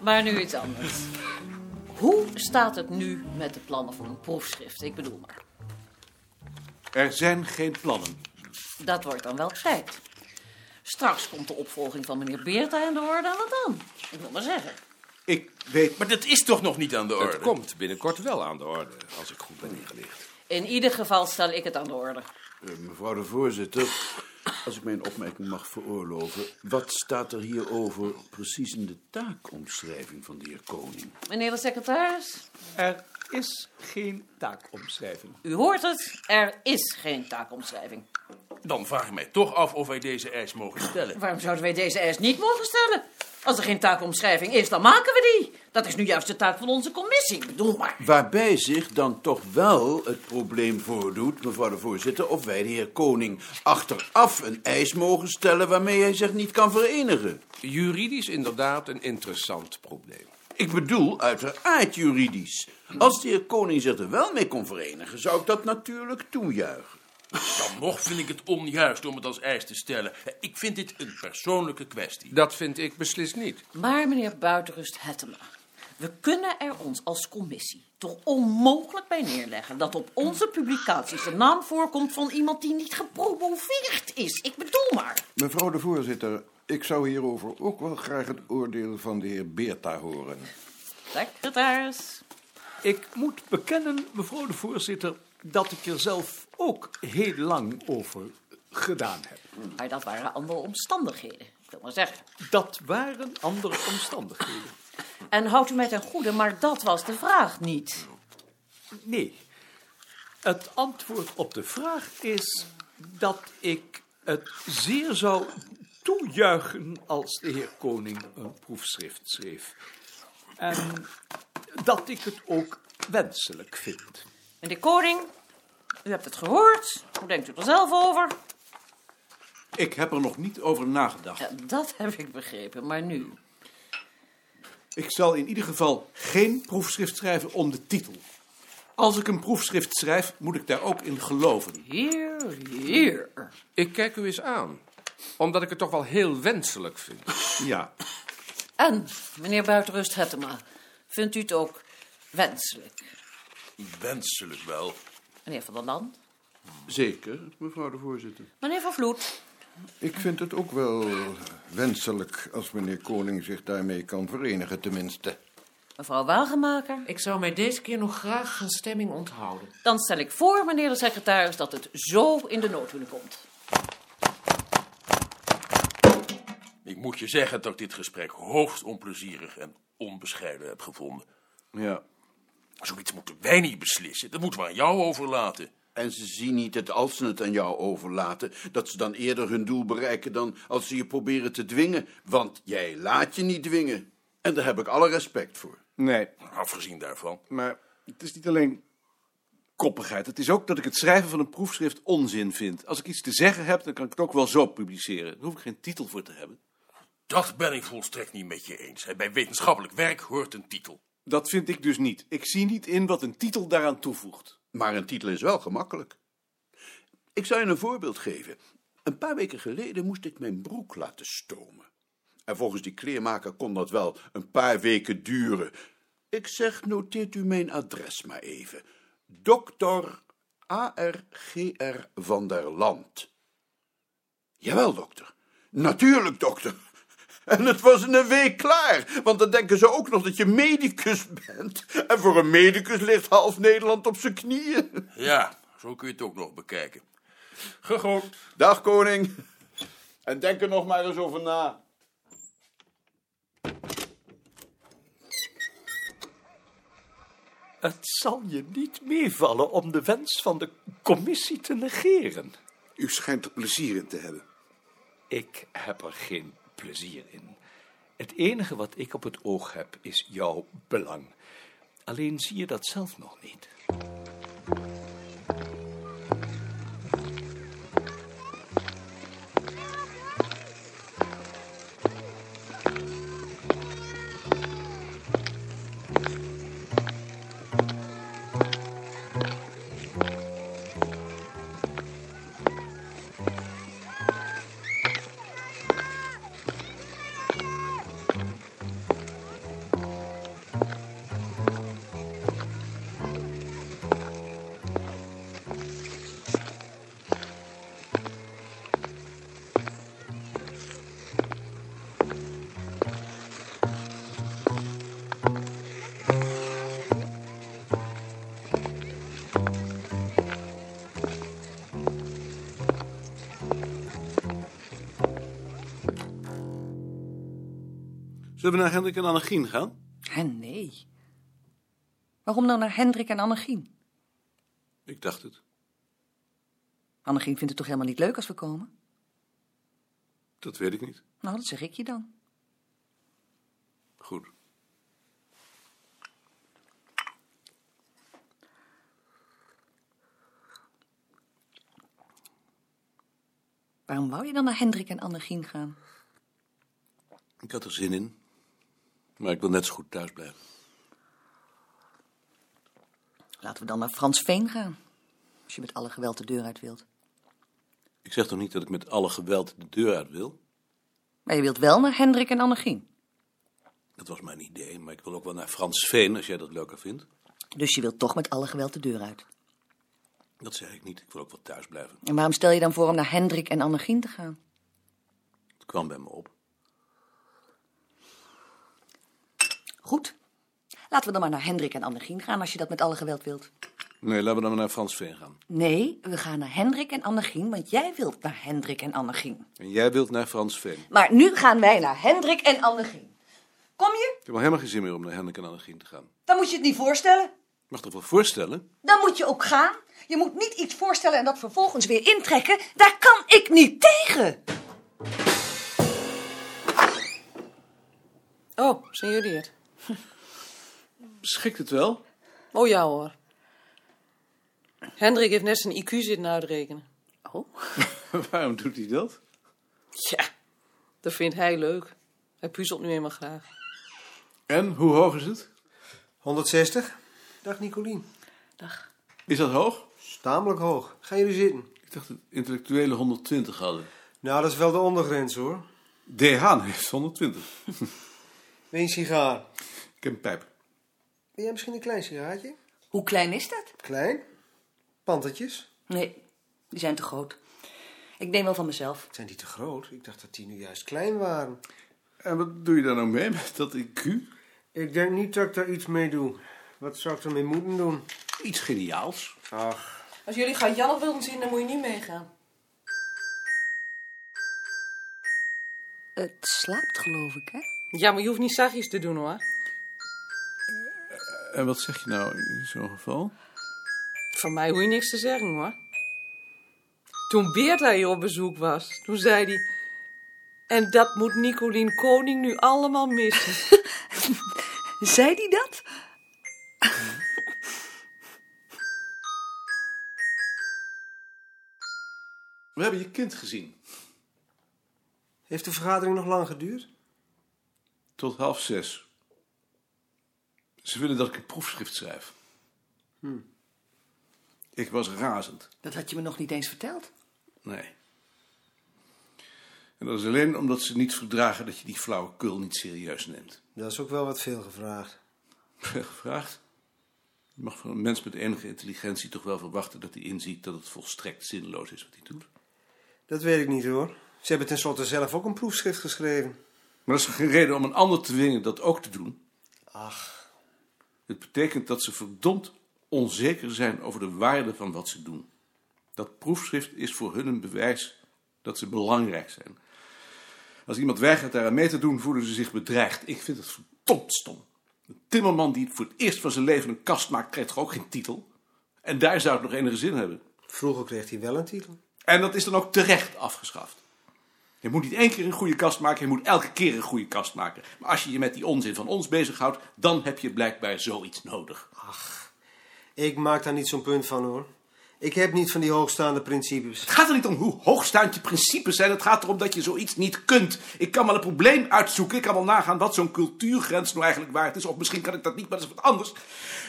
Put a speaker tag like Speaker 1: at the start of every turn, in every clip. Speaker 1: Maar nu iets anders. Hoe staat het nu met de plannen voor een proefschrift? Ik bedoel maar.
Speaker 2: Er zijn geen plannen.
Speaker 1: Dat wordt dan wel geit. Straks komt de opvolging van meneer Beerta in de orde en wat dan? Ik wil maar zeggen.
Speaker 2: Ik weet
Speaker 3: Maar dat is toch nog niet aan de orde?
Speaker 4: Het komt binnenkort wel aan de orde, als ik goed ben ingelicht.
Speaker 1: In ieder geval stel ik het aan de orde.
Speaker 5: Eh, Mevrouw de voorzitter, als ik mijn opmerking mag veroorloven, wat staat er hierover precies in de taakomschrijving van de heer Koning?
Speaker 1: Meneer de secretaris,
Speaker 6: Er is geen taakomschrijving.
Speaker 1: u hoort het. Er is geen taakomschrijving.
Speaker 3: Dan vraag ik mij toch af of wij deze eis mogen stellen.
Speaker 1: Waarom zouden wij deze eis niet mogen stellen? Als er geen taakomschrijving is, dan maken we die. Dat is nu juist de taak van onze commissie. Ik bedoel maar.
Speaker 5: Waarbij zich dan toch wel het probleem voordoet, mevrouw de voorzitter, of wij de heer Koning achteraf een eis mogen stellen waarmee hij zich niet kan verenigen.
Speaker 4: Juridisch inderdaad een interessant probleem.
Speaker 5: Ik bedoel, uiteraard juridisch. Als de heer Koning zich er wel mee kon verenigen, zou ik dat natuurlijk toejuichen.
Speaker 3: Dan nog vind ik het onjuist om het als eis te stellen. Ik vind dit een persoonlijke kwestie.
Speaker 4: Dat vind ik beslist niet.
Speaker 1: Maar meneer Buitenrust Hettema, we kunnen er ons als commissie toch onmogelijk bij neerleggen dat op onze publicaties de naam voorkomt van iemand die niet gepromoveerd is. Ik bedoel maar.
Speaker 7: Mevrouw de voorzitter, ik zou hierover ook wel graag het oordeel van de heer Beerta horen.
Speaker 1: Secretaris.
Speaker 6: Ik moet bekennen, mevrouw de voorzitter, dat ik er zelf ook heel lang over gedaan heb.
Speaker 1: Maar dat waren andere omstandigheden. Ik wil maar zeggen.
Speaker 6: Dat waren andere omstandigheden.
Speaker 1: En houdt u mij ten goede, maar dat was de vraag niet.
Speaker 6: Nee. Het antwoord op de vraag is dat ik het zeer zou toejuichen als de heer Koning een proefschrift schreef. En dat ik het ook wenselijk vind.
Speaker 1: Meneer Koning, u hebt het gehoord. Hoe denkt u er zelf over?
Speaker 2: Ik heb er nog niet over nagedacht.
Speaker 1: Ja, dat heb ik begrepen, maar nu.
Speaker 2: Ik zal in ieder geval geen proefschrift schrijven om de titel. Als ik een proefschrift schrijf, moet ik daar ook in geloven.
Speaker 1: Hier, hier.
Speaker 4: Ik kijk u eens aan, omdat ik het toch wel heel wenselijk vind.
Speaker 2: Ja,
Speaker 1: En, meneer Buitenrust Hettema, vindt u het ook wenselijk?
Speaker 3: Wenselijk wel.
Speaker 1: Meneer Van der Land?
Speaker 5: Zeker, mevrouw de voorzitter.
Speaker 1: Meneer Van Vloed?
Speaker 7: Ik vind het ook wel wenselijk als meneer Koning zich daarmee kan verenigen, tenminste.
Speaker 1: Mevrouw Wagenmaker?
Speaker 8: Ik zou mij deze keer nog graag een stemming onthouden.
Speaker 1: Dan stel ik voor, meneer de secretaris, dat het zo in de noodhulen komt.
Speaker 3: Ik moet je zeggen dat ik dit gesprek hoogst onplezierig en onbescheiden heb gevonden.
Speaker 5: Ja.
Speaker 3: Zoiets moeten wij niet beslissen. Dat moeten we aan jou overlaten.
Speaker 5: En ze zien niet dat als ze het aan jou overlaten, dat ze dan eerder hun doel bereiken dan als ze je proberen te dwingen. Want jij laat je niet dwingen. En daar heb ik alle respect voor.
Speaker 2: nee,
Speaker 3: Afgezien daarvan.
Speaker 2: maar het is niet alleen koppigheid. Het is ook dat ik het schrijven van een proefschrift onzin vind. Als ik iets te zeggen heb, dan kan ik het ook wel zo publiceren. Daar hoef ik geen titel voor te hebben.
Speaker 3: Dat ben ik volstrekt niet met je eens. Bij wetenschappelijk werk hoort een titel.
Speaker 2: Dat vind ik dus niet. Ik zie niet in wat een titel daaraan toevoegt.
Speaker 5: Maar een titel is wel gemakkelijk. Ik zal je een voorbeeld geven. Een paar weken geleden moest ik mijn broek laten stomen. En volgens die kleermaker kon dat wel een paar weken duren. Ik zeg, noteert u mijn adres maar even. Dokter A.R.G.R. van der Land. Jawel, dokter. Natuurlijk, dokter. En het was in een week klaar, want dan denken ze ook nog dat je medicus bent. En voor een medicus ligt half Nederland op zijn knieën.
Speaker 3: Ja, zo kun je het ook nog bekijken. Gegooid.
Speaker 5: Dag, koning. En denk er nog maar eens over na.
Speaker 6: Het zal je niet meevallen om de wens van de commissie te negeren.
Speaker 7: U schijnt er plezier in te hebben.
Speaker 6: Ik heb er geen plezier in. Het enige wat ik op het oog heb is jouw belang. Alleen zie je dat zelf nog niet. Zullen we naar Hendrik en Annegien gaan?
Speaker 1: Hè, nee. Waarom dan naar Hendrik en Annegien?
Speaker 6: Ik dacht het.
Speaker 1: Annegien vindt het toch helemaal niet leuk als we komen?
Speaker 6: Dat weet ik niet.
Speaker 1: Nou, dat zeg ik je dan.
Speaker 6: Goed.
Speaker 1: Waarom wou je dan naar Hendrik en Annegien gaan?
Speaker 6: Ik had er zin in. Maar ik wil net zo goed thuis blijven.
Speaker 1: Laten we dan naar Frans Veen gaan. Als je met alle geweld de deur uit wilt.
Speaker 6: Ik zeg toch niet dat ik met alle geweld de deur uit wil?
Speaker 1: Maar je wilt wel naar Hendrik en Annegien.
Speaker 6: Dat was mijn idee, maar ik wil ook wel naar Frans Veen, als jij dat leuker vindt.
Speaker 1: Dus je wilt toch met alle geweld de deur uit.
Speaker 6: Dat zeg ik niet, ik wil ook wel thuis blijven.
Speaker 1: En waarom stel je dan voor om naar Hendrik en Annegien te gaan?
Speaker 6: Het kwam bij me op.
Speaker 1: Goed. Laten we dan maar naar Hendrik en Annegien gaan als je dat met alle geweld wilt.
Speaker 6: Nee, laten we dan maar naar Frans Veen gaan.
Speaker 1: Nee, we gaan naar Hendrik en Annegien, want jij wilt naar Hendrik en Annegien.
Speaker 6: En jij wilt naar Frans Veen.
Speaker 1: Maar nu gaan wij naar Hendrik en Annegien. Kom je?
Speaker 6: Ik heb al helemaal geen zin meer om naar Hendrik en Annegien te gaan.
Speaker 1: Dan moet je het niet voorstellen.
Speaker 6: Ik mag toch wel voorstellen?
Speaker 1: Dan moet je ook gaan. Je moet niet iets voorstellen en dat vervolgens weer intrekken. Daar kan ik niet tegen.
Speaker 9: Oh, zijn jullie het?
Speaker 6: Schikt het wel?
Speaker 9: Oh ja hoor. Hendrik heeft net zijn IQ zitten uitrekenen.
Speaker 6: Waarom doet hij dat?
Speaker 9: Ja, dat vindt hij leuk. Hij puzzelt nu eenmaal graag.
Speaker 6: En, hoe hoog is het?
Speaker 10: 160. Dag Nicolien.
Speaker 6: Is dat hoog?
Speaker 10: Is Tamelijk hoog. Gaan jullie zitten?
Speaker 6: Ik dacht dat intellectuelen 120 hadden.
Speaker 10: Nou, dat is wel de ondergrens hoor.
Speaker 6: De Haan heeft 120.
Speaker 10: Wil je een sigaar?
Speaker 6: Ik heb een pijp.
Speaker 10: Wil jij misschien een klein sigaartje?
Speaker 1: Hoe klein is dat?
Speaker 10: Klein? Panteltjes?
Speaker 1: Nee, die zijn te groot. Ik neem wel van mezelf.
Speaker 10: Zijn die te groot? Ik dacht dat die nu juist klein waren.
Speaker 6: En wat doe je daar nou mee met dat IQ?
Speaker 10: Ik denk niet dat ik daar iets mee doe. Wat zou ik ermee moeten doen?
Speaker 6: Iets geniaals.
Speaker 10: Ach,
Speaker 9: Als jullie gaan Jan wilden zien, dan moet je niet meegaan.
Speaker 1: Het slaapt, geloof ik, hè?
Speaker 9: Ja, maar je hoeft niet zachtjes te doen hoor.
Speaker 6: En wat zeg je nou in zo'n geval?
Speaker 9: Van mij hoef je niks te zeggen hoor. Toen Beerta hier op bezoek was, toen zei hij... En dat moet Nicolien Koning nu allemaal missen.
Speaker 1: Zei die dat?
Speaker 6: We hebben je kind gezien.
Speaker 10: heeft de vergadering nog lang geduurd?
Speaker 6: Tot half zes. Ze willen dat ik een proefschrift schrijf.
Speaker 10: Hm.
Speaker 6: Ik was razend.
Speaker 1: Dat had je me nog niet eens verteld.
Speaker 6: Nee. En dat is alleen omdat ze niet verdragen dat je die flauwekul niet serieus neemt.
Speaker 10: Dat is ook wel wat veel gevraagd.
Speaker 6: Veel gevraagd. Je mag van een mens met enige intelligentie toch wel verwachten dat hij inziet dat het volstrekt zinloos is wat hij doet.
Speaker 10: Dat weet ik niet hoor. Ze hebben tenslotte zelf ook een proefschrift geschreven.
Speaker 6: Maar dat is geen reden om een ander te dwingen dat ook te doen.
Speaker 10: Ach,
Speaker 6: Het betekent dat ze verdomd onzeker zijn over de waarde van wat ze doen. Dat proefschrift is voor hun een bewijs dat ze belangrijk zijn. Als iemand weigert daaraan mee te doen, voelen ze zich bedreigd. Ik vind het verdomd stom. Een timmerman die voor het eerst van zijn leven een kast maakt, krijgt toch ook geen titel? En daar zou het nog enige zin hebben.
Speaker 10: vroeger kreeg hij wel een titel.
Speaker 6: En dat is dan ook terecht afgeschaft. Je moet niet één keer een goede kast maken, je moet elke keer een goede kast maken. Maar als je je met die onzin van ons bezighoudt, dan heb je blijkbaar zoiets nodig.
Speaker 10: Ik maak daar niet zo'n punt van hoor. Ik heb niet van die hoogstaande principes.
Speaker 6: Het gaat er niet om hoe hoogstaand je principes zijn. Het gaat erom dat je zoiets niet kunt. Ik kan wel een probleem uitzoeken. Ik kan wel nagaan wat zo'n cultuurgrens nou eigenlijk waard is. Of misschien kan ik dat niet, maar dat is wat anders.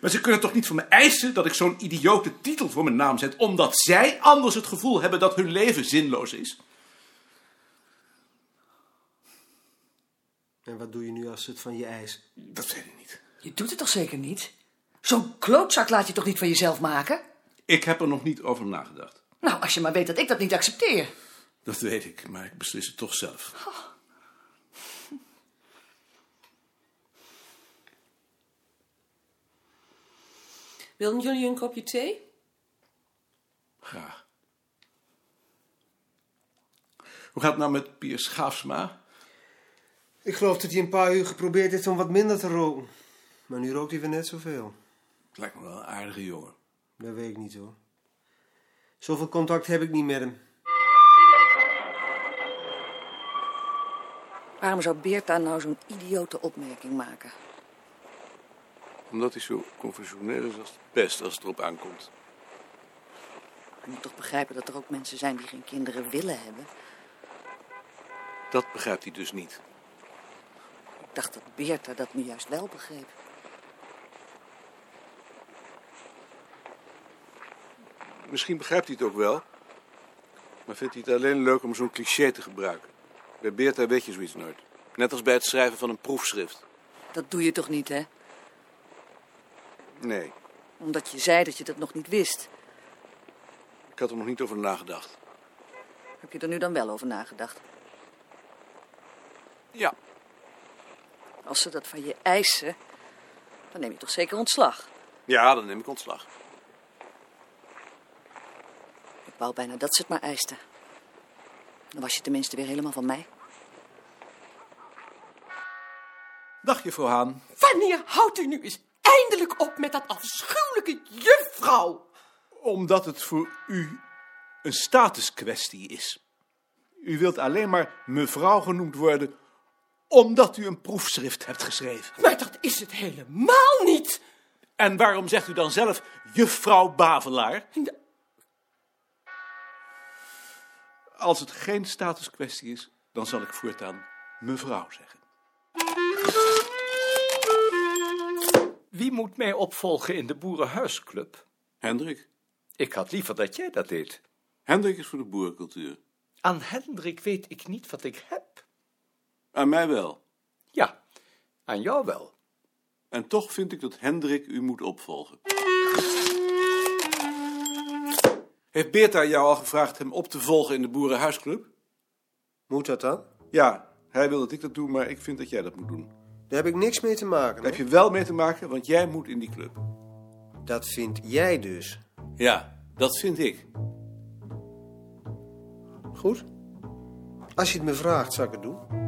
Speaker 6: Maar ze kunnen toch niet van me eisen dat ik zo'n idiote titel voor mijn naam zet. Omdat zij anders het gevoel hebben dat hun leven zinloos is.
Speaker 10: En wat doe je nu als ze het van je eisen?
Speaker 6: Dat weet ik niet.
Speaker 1: Je doet het toch zeker niet? Zo'n klootzak laat je toch niet van jezelf maken?
Speaker 6: Ik heb er nog niet over nagedacht.
Speaker 1: Nou, als je maar weet dat ik dat niet accepteer.
Speaker 6: Dat weet ik, maar ik beslis het toch zelf.
Speaker 9: Wilden jullie een kopje thee?
Speaker 6: Graag. Hoe gaat het nou met Piers Schaafsma?
Speaker 2: Ik geloof dat hij een paar uur geprobeerd heeft om wat minder te roken. Maar nu rookt hij weer net zoveel.
Speaker 11: Het lijkt me wel een aardige jongen.
Speaker 2: Dat weet ik niet hoor. Zoveel contact heb ik niet met hem.
Speaker 1: Waarom zou Beerta nou zo'n idiote opmerking maken?
Speaker 6: Omdat hij zo conventioneel is als de pest als het erop aankomt.
Speaker 1: Je moet toch begrijpen dat er ook mensen zijn die geen kinderen willen hebben.
Speaker 6: Dat begrijpt hij dus niet.
Speaker 1: Ik dacht dat Beerta dat nu juist wel begreep.
Speaker 6: Misschien begrijpt hij het ook wel. Maar vindt hij het alleen leuk om zo'n cliché te gebruiken. Bij Beerta weet je zoiets nooit. Net als bij het schrijven van een proefschrift.
Speaker 1: Dat doe je toch niet, hè?
Speaker 6: Nee,
Speaker 1: Omdat je zei dat je dat nog niet wist.
Speaker 6: ik had er nog niet over nagedacht.
Speaker 1: Heb je er nu dan wel over nagedacht?
Speaker 6: Ja.
Speaker 1: Als ze dat van je eisen, dan neem je toch zeker ontslag.
Speaker 6: Ja, dan neem ik ontslag.
Speaker 1: Ik wou bijna dat ze het maar eisten. Dan was je tenminste weer helemaal van mij.
Speaker 6: Dag, juffrouw Haan.
Speaker 12: Wanneer houdt u nu eens eindelijk op met dat afschuwelijke juffrouw?
Speaker 6: Omdat het voor u een statuskwestie is. U wilt alleen maar mevrouw genoemd worden omdat u een proefschrift hebt geschreven.
Speaker 12: Maar dat is het helemaal niet.
Speaker 6: En waarom zegt u dan zelf juffrouw Bavelaar? Als het geen statuskwestie is, dan zal ik voortaan mevrouw zeggen.
Speaker 10: Wie moet mij opvolgen in de Boerenhuisclub?
Speaker 6: Hendrik.
Speaker 10: Ik had liever dat jij dat deed.
Speaker 6: Hendrik is voor de boerencultuur.
Speaker 10: Aan Hendrik weet ik niet wat ik heb.
Speaker 6: Aan mij wel.
Speaker 10: Ja, aan jou wel.
Speaker 6: En toch vind ik dat Hendrik u moet opvolgen. Heeft Beerta jou al gevraagd hem op te volgen in de Boerenhuisclub?
Speaker 2: Moet dat dan?
Speaker 6: Ja, hij wil dat ik dat doe, maar ik vind dat jij dat moet doen.
Speaker 2: Daar heb ik niks mee te maken.
Speaker 6: Daar heb je wel mee te maken, want jij moet in die club.
Speaker 2: Dat vind jij dus.
Speaker 6: Ja, dat vind ik.
Speaker 2: Goed. Als je het me vraagt, zal ik het doen.